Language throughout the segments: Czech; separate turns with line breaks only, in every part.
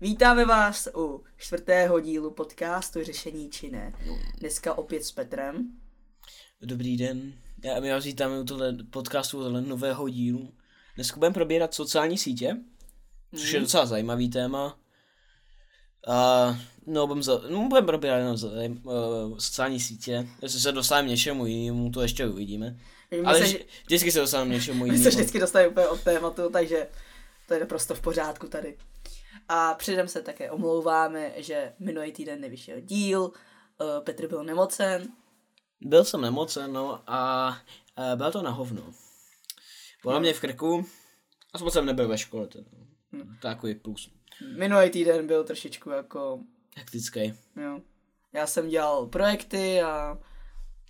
Vítáme vás u čtvrtého dílu podcastu Řešení či ne. Dneska opět s Petrem.
Dobrý den, já, my vás vítáme u tohle podcastu, u tohle nového dílu. Dneska budeme probírat sociální sítě, což
Mhm.
je docela zajímavý téma. A no, budeme za, no, budem probírat jenom za, uh, sociální sítě, jestli se dostaneme něčemu jinému, to ještě uvidíme.
My
Ale
se,
vž- vždycky se dostaneme něčemu
my se
jinému.
vždycky dostaneme úplně od tématu, takže to je naprosto v pořádku tady. A předem se také omlouváme, že minulý týden nevyšel díl, eh, Petr byl nemocen,
Byl jsem nemocen, no, a uh, byl to na hovno.
No.
Byla mě v krku, aspoň jsem nebyl ve škole, to,
Hmm.
to je takový plus.
minulý týden byl trošičku jako
Hektický.
Jo. Já jsem dělal projekty a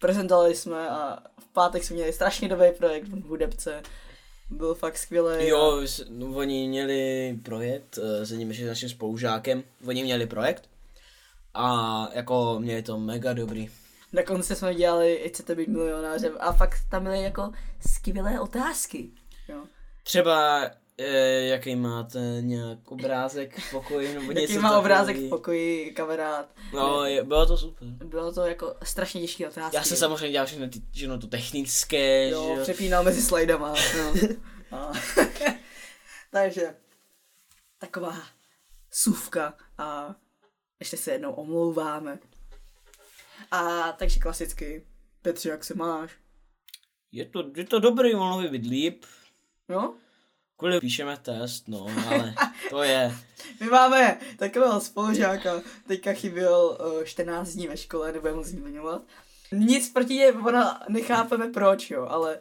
prezentovali jsme a v pátek jsme měli strašně dobrý projekt v hudebce. Byl fakt skvělý.
Jo, s- no, oni měli projekt eh, s jedním ještě s naším spolužákem, oni měli projekt a jako měli to mega dobrý.
Dokonce jsme dělali i chcete být milionářem a fakt tam byly jako skvělé otázky. Jo.
Třeba eh, jaký máte nějak obrázek v pokoji nebo něco
Jaký má obrázek v
takový.
pokoji kamarád.
No, je, bylo to super.
Bylo to jako strašně těžké otázky.
Já jsem samozřejmě dělal všechno, ty, všechno to technické,
Jo,
že jo.
přepínal mezi slajdama. No. A- Takže taková suvka a ještě se jednou omlouváme. A takže klasicky, Petře, jak se máš?
Je to, je to dobrý, mohlo by být líp.
No,
Kvůli píšeme test, no, ale to je.
my máme takového spolužáka, teďka chyběl eh, 14 dní ve škole, nebudeme ho zmiňovat. Nic proti je, ona nechápeme proč, jo, ale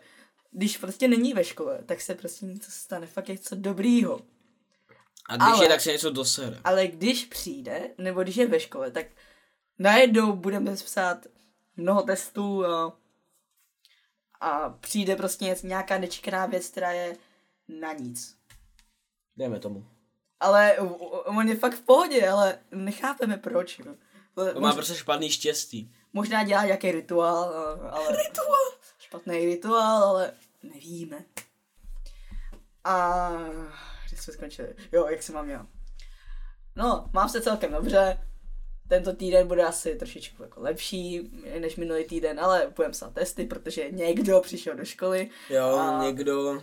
když prostě není ve škole, tak se prostě něco stane, fakt něco dobrýho.
A když
Ale-
je, tak se něco dosere.
Ale když přijde, nebo když je ve škole, tak najednou budeme psát mnoho testů a, a přijde prostě něco- nějaká nečekaná věc, která je na nic.
Jdeme tomu.
Ale u- u- on je fakt v pohodě, ale nechápeme proč. jo. Ale
To má
mož-
prostě špatný štěstí.
Možná dělá nějaký rituál, a- ale... Rituál! Špatný rituál, ale nevíme. A... Kde jsme skončili? Jo, jak se mám já? No, mám se celkem dobře. Tento týden bude asi trošičku jako lepší než minulý týden, ale budeme psát testy, protože někdo přišel do školy.
Jo,
A-
někdo,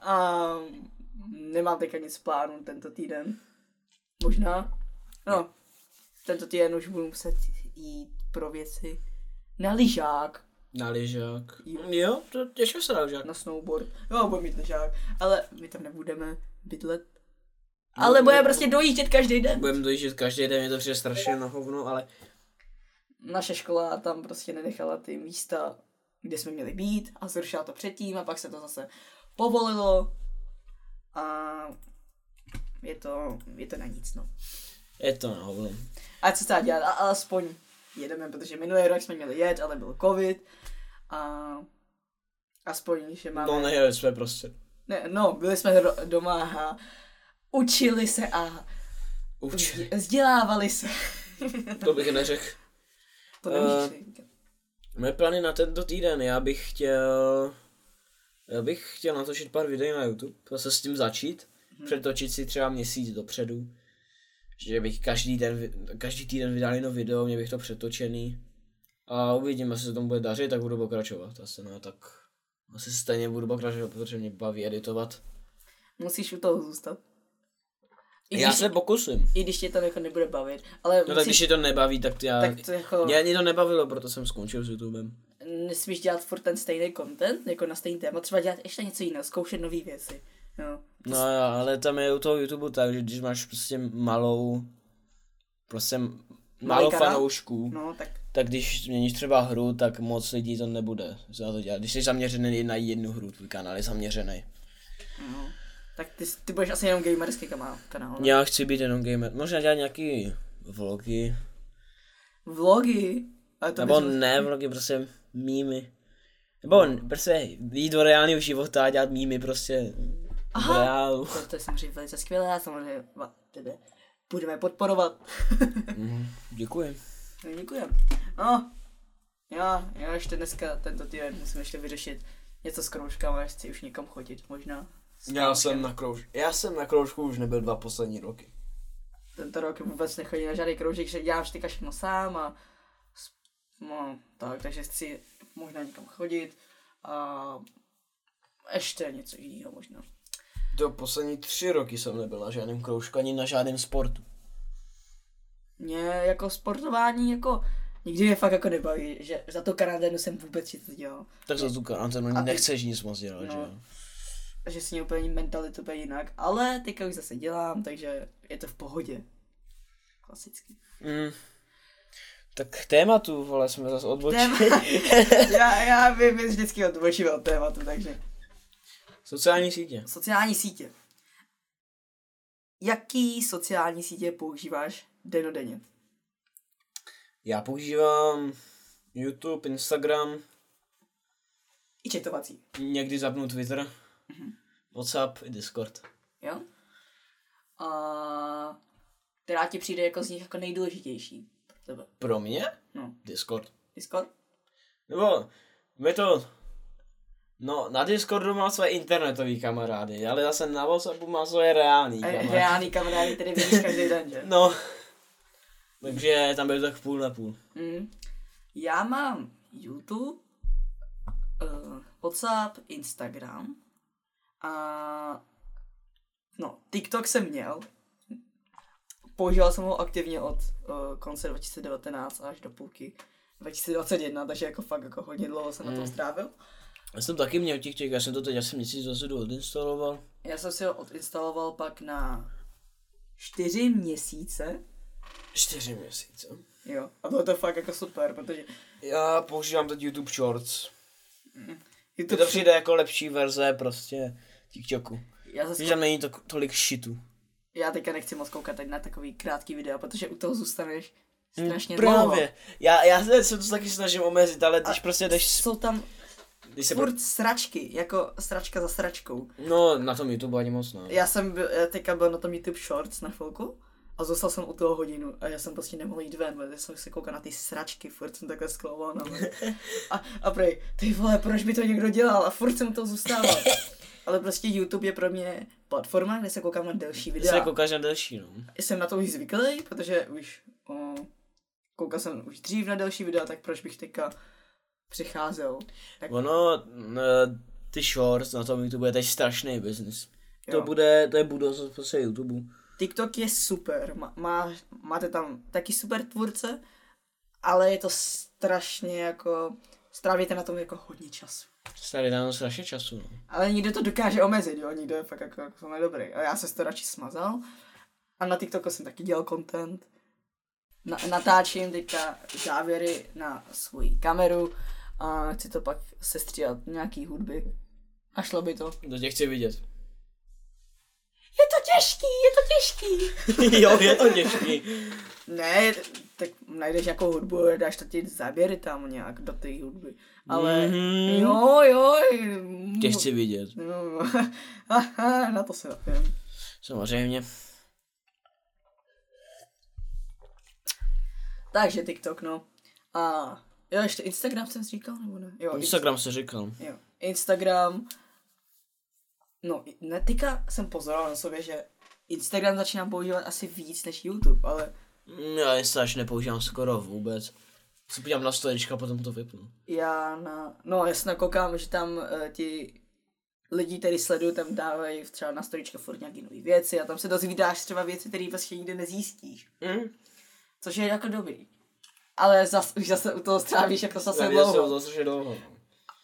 A nemám teďka nic v plánu tento týden. Možná. No, tento týden už budu muset jít pro věci na lyžák,
Na lyžák.
Jo.
Jo, to těžko se na lyžák.
na snowboard. Jo, budu mít lyžák, ale my tam nebudeme bydlet.
No,
Ale budeme
ne-
prostě dojíždět každý den.
Budeme dojíždět každý den, je to přijde strašně na hovno, ale
Naše škola tam prostě nenechala ty místa, kde jsme měli být a zrušila to předtím a pak se to zase povolilo a je to, je to na nic, no.
je to na hovno.
A co se dá dělat, a alespoň jedeme, protože minulý rok jsme měli jet, ale byl covid a aspoň, že máme...
No nejeli jsme prostě.
Ne, no, byli jsme ro- doma a učili se a
Určitě,
vzdě- vzdělávali se.
to bych neřekl.
to
Eh.
nemůžeš říkat.
Mé plány na tento týden, já bych chtěl... Já bych chtěl natočit pár videí na YouTube, zase s tím začít. Přetočit si třeba měsíc dopředu. Že bych každý, den, vy- každý týden vydal jedno video, mě bych to přetočený. A uvidím, jestli se tomu bude dařit, tak budu pokračovat. Asi no, tak asi stejně budu pokračovat, protože mě baví editovat.
Musíš u toho zůstat. I
Já
když,
se pokusím.
I když tě to jako nebude bavit, ale
No tak když
musíš,
je to nebaví, tak já...
tak to jako
Mě ani to nebavilo, proto jsem skončil s YouTubem.
nesmíš dělat furt ten stejný content, jako na stejný téma, třeba dělat ještě něco jiného, zkoušet nové věci. No.
No jo, ale tam je u toho YouTubeu tak, že když máš prostě malou... Prostě malou
kanál?
fanoušků,
no, tak
tak když změníš třeba hru, tak moc lidí to nebude za to dělat. Když jsi zaměřený na jednu hru, tvůj kanál je zaměřený.
No, tak ty, ty budeš asi jenom gamerský kanál. kanál ne?
Já chci být jenom gamer. Možná dělat nějaký vlogy,
Vlogy? Ale to
nebo
bys-
ne vlogy, prostě mýmy. Nebo prostě jít do reálného života a dělat mýmy prostě v
Aha.
reálu.
To, to je samozřejmě velice skvělé a samozřejmě va- tebe budeme podporovat.
Děkuji.
No, Děkujem. No, já, já ještě dneska tento týden musím ještě vyřešit něco s kroužkama, až chci už někam chodit možná.
Já jsem na kroužku. Já jsem na kroužku už nebyl dva poslední roky.
Tento rok vůbec nechodí na žádný kroužek, že dělám teďka všechno sám a s- no, tak, takže chci možná někam chodit a ještě něco jiného možná.
Do poslední tři roky jsem nebyl na žádném kroužku ani na žádném sportu.
Mě jako sportování jako nikdy mě fakt jako nebaví, že za to karanténu jsem vůbec nic nedělal.
Tak za tu karanténu
A ty-
nechceš nic moc dělat,
No.
že jo?
Že si mě úplně mentalitu úplně jinak, ale teďka už zase dělám, takže je to v pohodě. Klasicky.
Mm. Tak k tématu, vole, jsme zase odbočili.
Téma. já, já vím, že vždycky odbočím od tématu, takže.
Sociální sítě.
Sociální sítě. Jaký sociální sítě používáš denodenně?
Já používám YouTube, Instagram,
I četovací,
někdy zapnu Twitter, WhatsApp i Discord.
jo? A která ti přijde jako z nich jako nejdůležitější pro tebe?
Pro mě?
No.
Discord.
Discord?
Nebo, my to... No, na Discordu má své internetový kamarády, ale zase na WhatsAppu má své reální
A
kamarády.
reálný kamarády, který vidíš každý den, že?
No. Takže tam byl tak půl na půl.
Mm. Já mám YouTube, uh, WhatsApp, Instagram a no, TikTok jsem měl. Používal jsem ho aktivně od uh, konce 2019 až do půlky 2021, takže jako fakt jako hodně dlouho jsem
Hmm.
na tom strávil.
Já jsem taky měl těch těch, já jsem to teď asi měsíc dozadu odinstaloval.
Já jsem si ho odinstaloval pak na čtyři měsíce,
Čtyři měsíce.
jo. A bylo to fakt jako super, protože
Já používám teď YouTube Shorts. Mně
YouTube,
to přijde jako lepší verze prostě TikToku.
já zase
Víš, tam není to, tolik šitu.
já teďka nechci moc koukat tady na takový krátký videa, protože u toho zůstaneš strašně dlouho.
Mm, Právě. Já, já se- se to taky snažím omezit, ale když prostě jdeš...
Jsou tam
Když se
furt sračky, jako sračka za sračkou.
No, na tom YouTube ani moc no. ne.
Já jsem byl, já teďka byl na tom YouTube Shorts na chvilku a zůstal jsem u toho hodinu a já jsem prostě nemohl jít ven, protože jsem se koukal na ty sračky, furt jsem takhle sklouval na hlavu. a, a prej, ty vole, proč by to někdo dělal a furt jsem to zůstával. Ale prostě YouTube je pro mě platforma, kde se koukám na delší
Když se
videa.
koukáš na delší, no.
jsem na to už zvyklý, protože už o, koukal jsem už dřív na další videa, tak proč bych teďka přecházel. Tak,
Ono, n- ty shorts na tom YouTube je teď strašný business. To
Jo.
bude, to je budoucnost prostě YouTube.
TikTok je super, má, má, máte tam taky super tvůrce, ale je to strašně jako, strávíte na tom jako hodně času.
Starý dávno strašně času, no.
Ale někdo to dokáže omezit, jo, někdo je fakt jako, jako to nedobrý. A já jsem to radši smazal. A na TikToku jsem taky dělal content. Na, natáčím teďka závěry na svoji kameru a chci to pak sestříhat nějaký hudby. A šlo by to.
To tě chci vidět.
Je to těžký, je to těžký.
jo, je to těžký.
Ne, tak najdeš nějakou hudbu a dáš to ty záběry tam nějak do té hudby. Ale
Mhm.
mm-hmm. jo, jo.
Tě chci vidět.
No, aha, na to se napím.
Samozřejmě.
Takže TikTok, no. A jo, ještě Instagram jsem říkal, nebo ne? Jo,
Instagram se říkal.
Inst- jo. Instagram. No, i- ne, teďka jsem pozoroval na sobě, že Instagram začínám používat asi víc než YouTube, ale
Mm, Já Instač nepoužívám skoro vůbec. Se podívám na storička, potom to vypnu.
já na... No, jasně koukám, že tam uh, ti lidi, který sleduju, tam dávají třeba na storička furt nějaký nový věci a tam se dozvídáš třeba věci, které prostě nikde nezjistíš.
Mm.
Což je jako dobrý. Ale zas, už zase u toho strávíš jako zase
Já jsem
dlouho.
to strašně dlouho.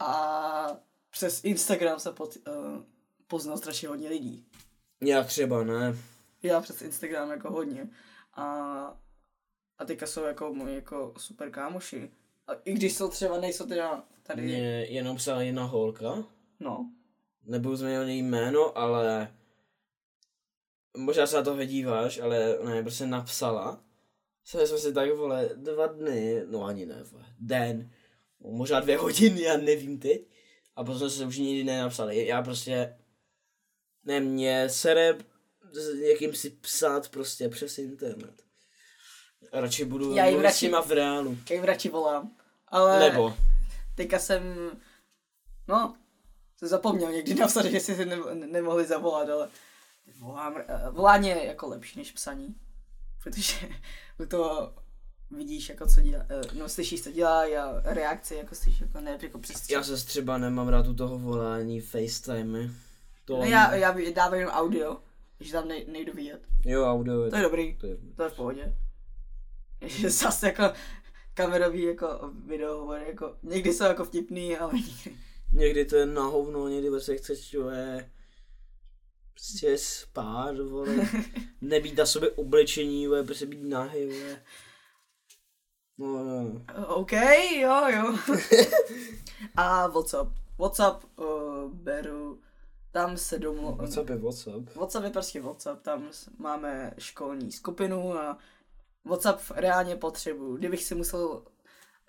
A přes Instagram se pod, uh, poznal strašně hodně lidí.
Já třeba ne.
Já přes Instagram jako hodně. A, a teďka jsou jako moji jako super kámoši. A i když jsou třeba, nejsou teda tady.
Mě jenom psala jedna holka.
No.
Nebudu zmiňovat její jméno, ale... Možná se na to díváš, ale ona je prostě napsala. Sali jsme si tak, vole, dva dny, no ani ne, vole, den, možná dvě hodiny, já nevím teď. A potom jsme se už nikdy nenapsali. Já prostě, ne, mě sere s někým si psát prostě přes internet. Radši budu
Já jim
mluvit s
radši-
nima v reálu.
Já jim radši volám. Ale
Nebo.
teďka jsem. No, jsem zapomněl někdy napsat, že si ne, ne, nemohli zavolat, ale volám, eh, volání je jako lepší než psaní, protože u toho vidíš, jako co dělá, eh, no slyšíš, co dělá a reakce, jako slyšíš, jako ne, jako přes
Já se třeba nemám rád u toho volání FaceTime. To
No já, já vy- dávám jenom audio, že tam nej, nejdu vidět.
Jo, audio je
To je dobrý,
to je...
to je v pohodě. Že zase jako kamerový jako video, jako někdy jsou jako vtipný, ale někdy.
Někdy to je na hovno, někdy prostě chceš čové prostě spát, vole. Nebýt na sobě oblečení, vole, prostě být nahý, vole. No, no.
OK, jo, jo. A WhatsApp. WhatsApp uh, beru, tam se domlu...
WhatsApp je Whatsapp.
WhatsApp je prostě WhatsApp, tam s- máme školní skupinu a WhatsApp reálně potřebuju. Kdybych si musel,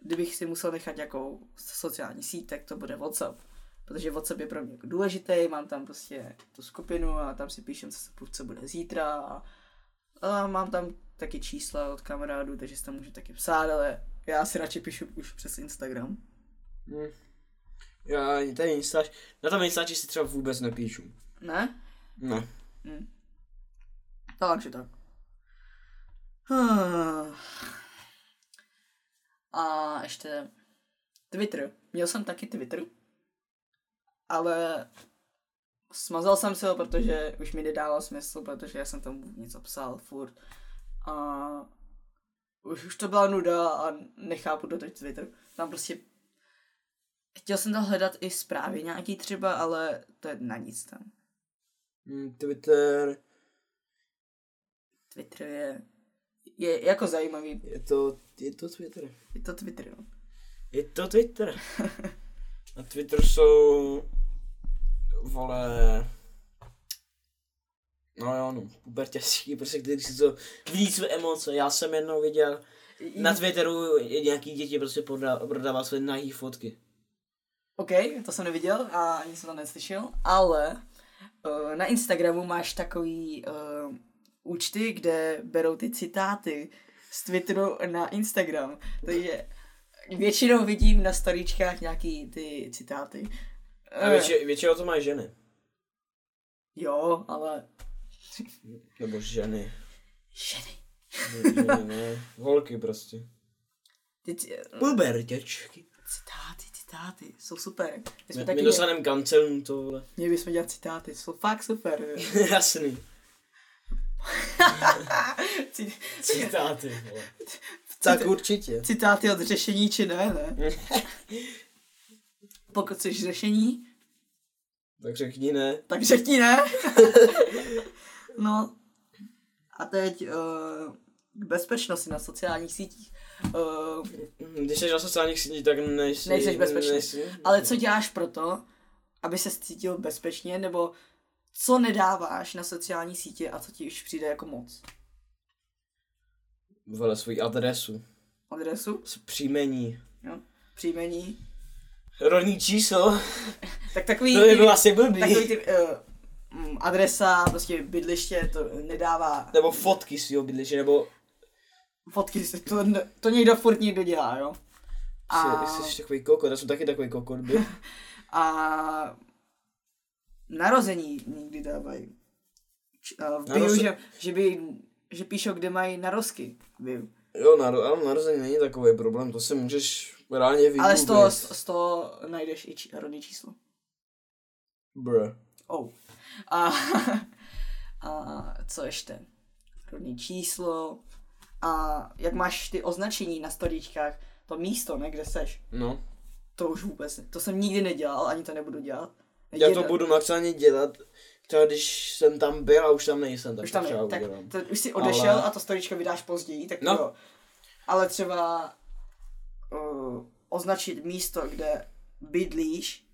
kdybych si musel nechat nějakou sociální síť, tak to bude WhatsApp. Protože WhatsApp je pro mě jako důležitý, mám tam prostě tu skupinu a tam si píšem, co, se- co bude zítra a, a mám tam taky čísla od kamarádů, takže si tam můžu taky psát, ale já si radši píšu už přes Instagram.
Hm. Já ani ten Instač, na tom Instači si třeba vůbec nepíšu.
Ne?
Ne.
Takže tak. Hmm. A ještě Twitter. Měl jsem taky Twitter, ale smazal jsem si ho, protože už mi nedával smysl, protože já jsem tam něco psal furt. A už, už to byla nuda a nechápu do teď Twitter. Tam prostě chtěl jsem tam hledat i zprávy nějaký třeba, ale to je na nic tam.
Hm, Twitter,
Twitter je, je jako zajímavý.
je to, je to Twitter.
Je to Twitter, no.
Je to Twitter. Na Twitter jsou... Vole... No jo, no, pubertěský, prostě když si to vidí své emoce. Já jsem jednou viděl, na Twitteru je nějaký děti prostě prodá, prodává své nahý fotky.
OK, to jsem neviděl a ani jsem to neslyšel, ale uh, na Instagramu máš takový uh, účty, kde berou ty citáty z Twitteru na Instagram. Takže většinou vidím na storíčkách nějaký ty citáty.
A
Eh,
větši, většinou to mají ženy.
jo, ale
Nebo ženy.
ženy.
ženy ne. Holky prostě.
Ty ci- eh,
Pubertěčky.
citáty, citáty, jsou super. My jsme
My, my
taky,
dostaneme kancelnu to, vole.
měli bychom dělat citáty, jsou fakt super.
Jasný.
Cit-
Citáty, vole. Tak určitě.
citáty od řešení či ne, ne? Pokud chceš řešení,
Tak řekni ne.
tak řekni ne. no. A teď uh, bezpečnosti na sociálních sítích. Uh,
Mhm, Když jsi na sociálních sítích, tak nejsi...
Nejseš bezpečný.
nejsi-
ale co děláš pro to, aby se cítil bezpečně, nebo co nedáváš na sociální sítě a co ti už přijde jako moc?
Vole, svoji adresu.
Adresu,
S- Příjmení.
jo? příjmení.
Rodní číslo.
Tak takový...
No,
ty-
To vlastně- by bylo asi blbý.
takový ty, uh, adresa, prostě bydliště, to nedává
Nebo fotky svýho bydliště, nebo...
fotky, se- to, to někdo furt někdo dělá, jo. A,
A... Jsi, jsi takový kokot, já jsem taky takový kokot byl.
a narození nikdy dávají. Č- a Vbiju,
Naroze-
že, že, by, že píšou, kde mají narozky. Vbiju.
jo, naro, ale narození není takový problém, to si můžeš reálně vygooglit.
Ale z toho, z z toho najdeš i či, rodné číslo.
Br.
Oh. A, a co ještě? Rodné číslo. A jak máš ty označení na storičkách, to místo, ne, kde seš.
No.
To už vůbec, ne- to jsem nikdy nedělal, ani to nebudu dělat.
Já to
Jeden-
budu maximálně dělat, třeba když jsem tam byl a už tam nejsem, tak
Už
to
tam
třeba
je, tak
udělám.
to, už si odešel
Ale-
a to storičko vydáš později, tak
No.
no. jo. Ale třeba uh, označit místo, kde bydlíš,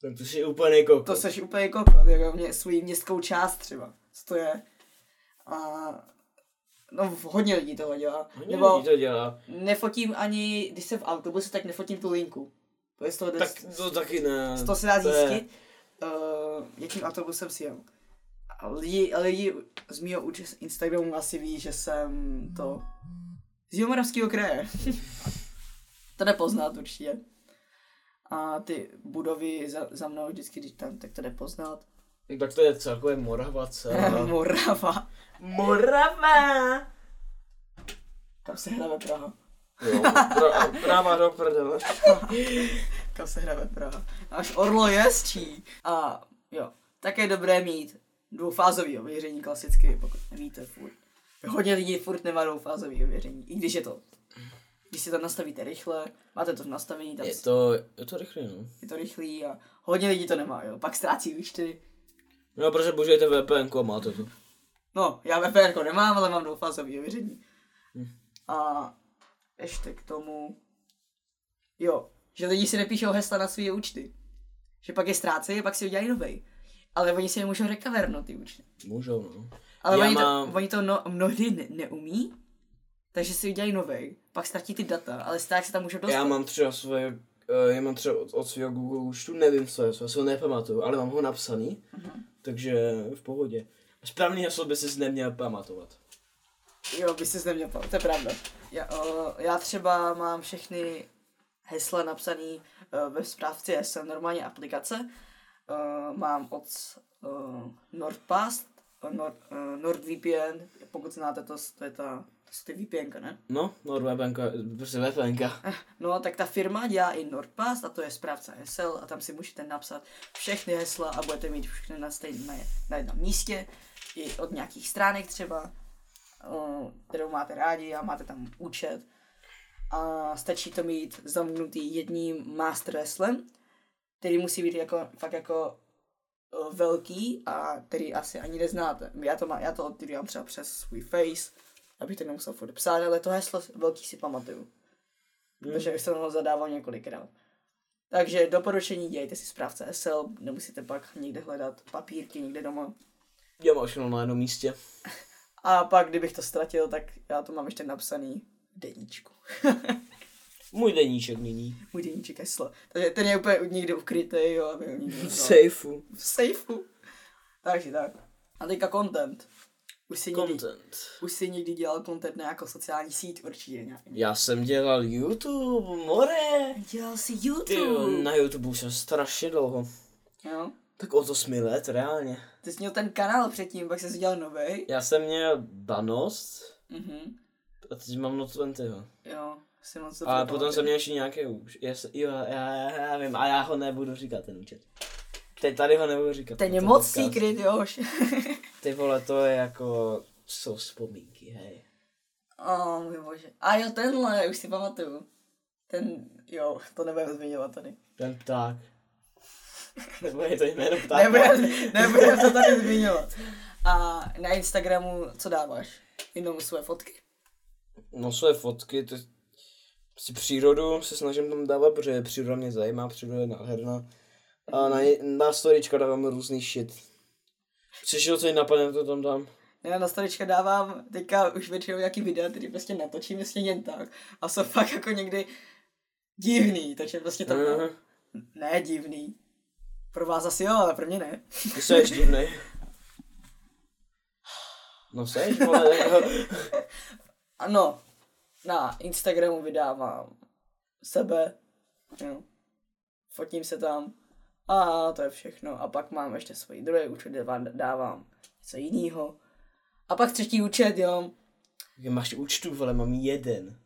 Tak to jsi úplně kokot.
to seš úplně kokot, jako mě, svůj městskou část třeba, co to je. A no hodně lidí toho dělá.
Hodně
Nebo
lidí to dělá.
nefotím ani, když jsem v autobuse, tak nefotím tu linku. To je z toho,
Tak to taky ne.
to se dá
je-
zjistit, uh, jakým autobusem si jel. A lidi, a lidi z mého úč- z Instagramu asi ví, že jsem to z Jihomoravského kraje. to nepoznat určitě. a ty budovy za, za mnou vždycky, když tam, tak to jde poznat.
Tak to je celkově Morava celá.
Morava.
Morava!
Kam se hrabe Praha?
Jo, pra, práva do prdele.
Kam se hrabe Praha? Až orlo jezdčí. A jo, tak je dobré mít dvoufázový ověření klasicky, pokud nevíte furt. Hodně lidí furt nemá dvoufázový ověření, i když je to. Když si to nastavíte rychle, máte to v nastavení, tam
Je to, je to rychlý, no.
je to rychlý a hodně lidí to nemá, jo. Pak ztrácí účty.
No, protože použijete VPN a máte to.
No, já VPN nemám, ale mám dvoufázové ověření.
Hm.
A ještě k tomu, jo, že lidi si nepíšou hesla na své účty. Že pak je ztrácejí a pak si udělají novej. Ale oni si je můžou recovernout ty účty.
Můžou, no.
Ale
Já
oni,
mám-
to, oni to no, mnohdy ne- neumí, takže si udělají novej, pak ztratí ty data, ale stále se tam můžou dostat.
Já mám třeba svoje, eh, já mám třeba od, od svého Google účtu, nevím co je, co si ho nepamatuju, ale mám ho napsaný, takže v pohodě. Správný heslo by si neměl pamatovat.
Jo, by si neměl to je pravda. Já, o, já třeba mám všechny hesla napsaný o, ve správci SN, normálně aplikace. O, mám od o, NordPast, o, Nord, o, NordVPN, pokud znáte to, to je ta, to jsou ty VPN, ne?
No, no, VPNka, prostě VPNka.
No, tak ta firma dělá i NordPast a to je správce hesel a tam si můžete napsat všechny hesla a budete mít všechny na, stejn, na, na jednom místě, i od nějakých stránek třeba, o, kterou máte rádi a máte tam účet. A stačí to mít zamknutý jedním master heslem, který musí být jako, fakt jako o, velký a který asi ani neznáte. Já to, má, já to odtýkám třeba přes svůj face, abych to nemusel furt psát, ale to heslo velký si pamatuju
Mhm.
protože už jsem ho zadával několikrát. Takže doporučení dělejte si správce SL, nemusíte pak někde hledat papírky někde doma.
Já mám všechno na jednom místě.
A pak, kdybych to ztratil, tak já to mám ještě napsaný v deníčku.
Můj deníček nyní.
Můj deníček SL. Takže ten je úplně někde ukrytý, jo, aby ho nikdo
V
nezal.
sejfu.
v sejfu. Takže tak. A teďka content. Už si, někdy,
Content.
už si někdy dělal content na jako sociální síť určitě nějaký.
Já jsem dělal YouTube, more.
Dělal si
Ty,
YouTube.
na YouTube už jsem strašně dlouho.
Jo.
Tak o to osmi let, reálně.
Ty jsi měl ten kanál předtím, pak jsi udělal novej.
Já jsem měl danost
Mhm.
a teď mám not 20.
Jo, si moc
Ale
dobře
potom
pamatuju.
jsem měl ještě nějaké už. Já, se- jo, já, já, vím, a já ho nebudu říkat ten účet. Teď tady ho nebudu říkat.
Ten
na
je
ten
moc
podcast.
secret, jo. už.
Ty vole, to je jako, jsou vzpomínky, hej.
oh, můj bože. A jo, tenhle, už si pamatuju. Ten, jo, to nebudeme zmiňovat tady.
Ten pták. Nebo je to jméno ptáka?
Nebudeme nebudem to tady zmiňovat. A na Instagramu, co dáváš? Jenom svoje fotky.
No své fotky, to si přírodu se snažím tam dávat, protože příroda mě zajímá, příroda je nádherná. A
Mhm.
na, na storička dávám různý shit. Přišel co mi napadne, to tam dám.
Já na storička dávám teďka už většinou nějaký videa, který prostě natočím jestli jen tak. A jsou fakt jako někdy divný, takže prostě to...
Aha.
Ne divný. Pro vás asi jo, ale pro mě ne.
Ty jsi divný. No seš, vole, jako,
Ano, na Instagramu vydávám sebe, jo. fotím se tam a to je všechno. A pak mám ještě svůj druhý účet, kde vám dávám něco jiného. A pak třetí účet, jo,
Jak máš účtu, vole, mám jeden.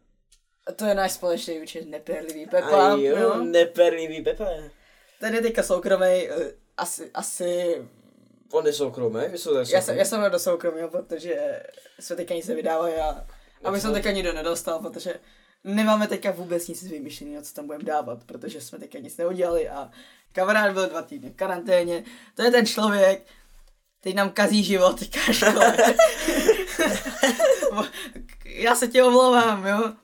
a to je náš společný účet, nepěrlivý Pepa,
A
jo.
jo,
jo.
neperlivý Pepe.
Ten je teďka soukromý, asi, asi,
On je soukromé, vy jsou
já jsem, já jsem do soukromého, protože jsme teďka nic nevydávali a, a my
Já
jsme
jsem-
teďka nikdo nedostal, protože nemáme teďka vůbec nic vymyšleného, co tam budeme dávat, protože jsme teďka nic neudělali a kamarád byl dva týdny v karanténě, to je ten člověk, teď nám kazí život, teďka škole. já se tě omlouvám, jo.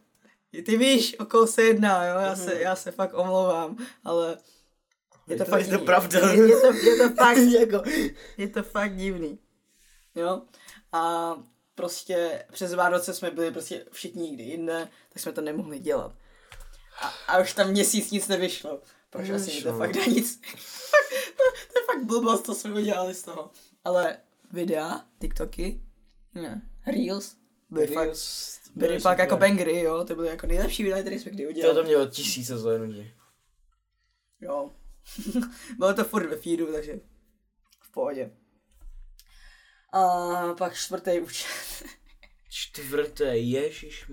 Ty víš, o koho se jedná, jo, já se, já se fakt omlouvám, ale Mhm. je to, fakt divný. Je, je, to, je to fakt
jako...
je to fakt divný. Jo? A prostě přes Vánoce jsme byli prostě všichni někde jinde, tak jsme to nemohli dělat. A, a už tam měsíc nic nevyšlo. Proč asi mi to
Nevyšlo.
fakt dá nic. Fakt, to, to je fakt blbost, co jsme udělali z toho. Ale videa, TikToky, ne, Reels, byly fakt, byly fakt jako bangery, jo, to byly jako nejlepší videa, které jsme kdy
To
udělali.
to mělo tisíce zhlédnutí.
Jo. Bylo to furt ve feedu, takže v pohodě. A pak čtvrtý účet.
Čtvrté, ježíš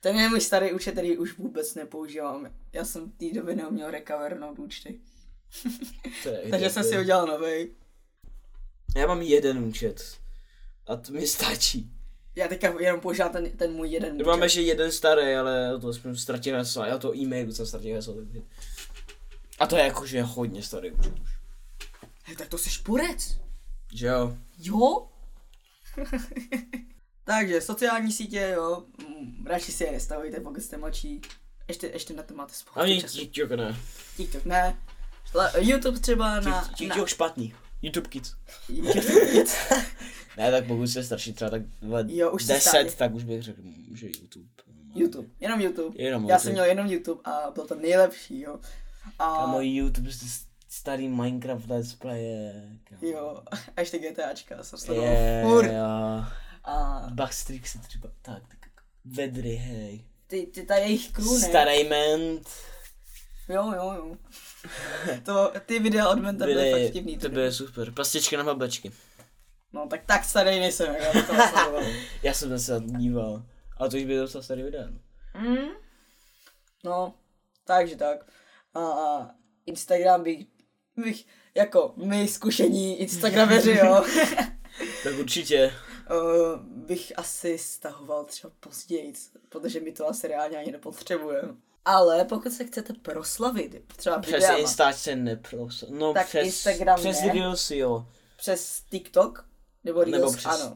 Ten je můj starý účet, který už vůbec nepoužívám. Já jsem v té době neuměl recovernout účty. Takže jsem si udělal nový.
Já mám jeden účet. A to mi stačí.
Já teďka jenom používám ten, ten můj jeden
Já mám ještě jeden starý, ale to jsem ztratil heslo. Já to e-mailu jsem ztratil heslo. takže- A to je jakože hodně starý účet už.
Hej, tak to jsi špurec.
Že jo?
Jo? Takže sociální sítě, jo, mm, radši si je nestavujte, pokud jste mladší. Ještě, ještě na to máte
A
spoustu
mě
času.
TikTok ne.
TikTok ne. Le- YouTube třeba na...
Tik-
na...
TikTok špatný. YouTube Kids.
YouTube.
Ne, tak pokud se starší třeba tak vole,
Jo, už se
10,
stávě.
tak už bych řekl, že YouTube.
YouTube, jenom YouTube.
Jenom
Já
YouTube.
jsem měl jenom YouTube a byl to nejlepší, jo. A,
A můj YouTube s- starý Minecraft let's play je... kámo.
jo, a ještě GTAčka jsem sledoval
Je,
furt.
jo.
A
Backstreet se třeba, tak, tak, vedry, hej.
ty, ty ta jejich crew, ne?
Starý ment.
Jo, jo, jo. To, ty videa od Menta byly fakt vtipný.
to
ty
byly super. Pastičky na babačky.
No tak tak starý nejsem, jak já to sledoval.
Já jsem se na to díval. Ale to už by to docela starý video. no.
Mm. No, takže tak. A a Instagram bych, bych jako my zkušení Instagrameři, jo,
Tak určitě.
eh, bych asi stahoval třeba později, protože my to asi reálně ani nepotřebujeme. Ale pokud se chcete proslavit, třeba
Přes
videama, přes,
Instač se nepros. No
Tak
přes,
Instagram
přes
ne.
Reels jo.
přes TikTok, nebo Reels,
Nebo přes
ano.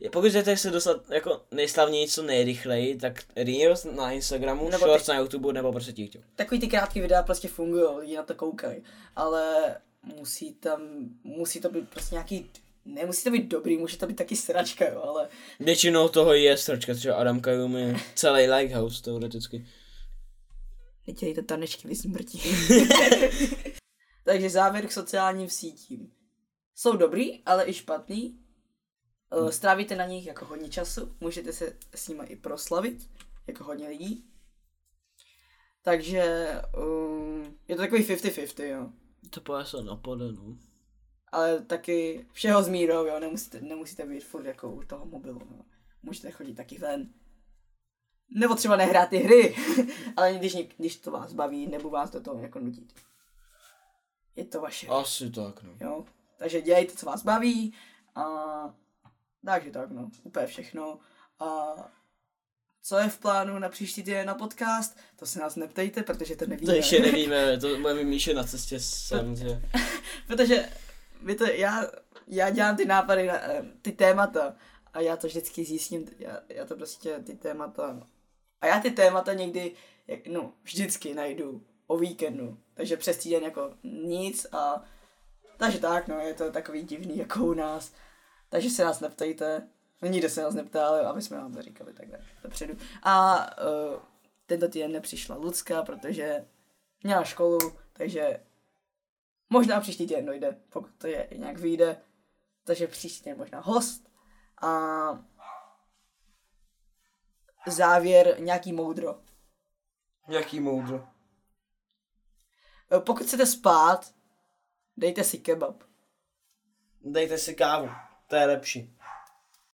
Je- Pokud chcete se dostat jako nejslavněji co nejrychleji, tak Reels na Instagramu,
Nebo
Shorts na YouTube nebo prostě TikTok.
Takový ty krátké videa prostě fungují, lidi na to koukají, ale musí tam, musí to být prostě nějaký, nemusí to být dobrý, může to být taky sračka, jo, ale
Většinou toho je stračka, třeba Adam Kajumi, celý Lighthouse teoreticky.
Nedělejte tanečky, vy smrti. Takže závěr k sociálním sítím. Jsou dobrý, ale i špatný. Eh, Strávíte na nich jako hodně času, můžete se s nimi i proslavit, jako hodně lidí. Takže um, je to takový 50-50, jo.
To pojasa napadne, no.
Ale taky všeho s mírou, jo, nemusíte, nemusíte být furt jako u toho mobilu, jo. Můžete chodit taky ven. Nebo třeba nehrát ty hry, ale když, něk- když to vás baví, nebo vás do toho jako nutit. Je to vaše,
Asi tak, no.
jo. Takže dělejte, co vás baví. A... Takže tak, no, úplně všechno. A co je v plánu na příští týden na podcast, to se nás neptejte, protože to
To
nevíme.
ještě nevíme, to budeme míšet na cestě sem, že...
Protože vy to, já, já dělám ty nápady, na, eh, ty témata a já to vždycky zjistím, já, já to prostě ty témata, a já ty témata někdy, jak, no, vždycky najdu o víkendu, takže přes týden jako nic a takže tak, no, je to takový divný jako u nás, takže se nás neptejte, No, nikdo se nás neptá, ale aby jsme vám to říkali, tak ne, dopředu. A uh, tento týden nepřišla Lucka, protože měla školu, takže Možná příští týden dojde, pokud to je nějak vyjde. Takže příští týden možná host. A závěr nějaký moudro.
Jaký moudro.
E, Pokud chcete spát, dejte si kebab.
Dejte si kávu, to je lepší.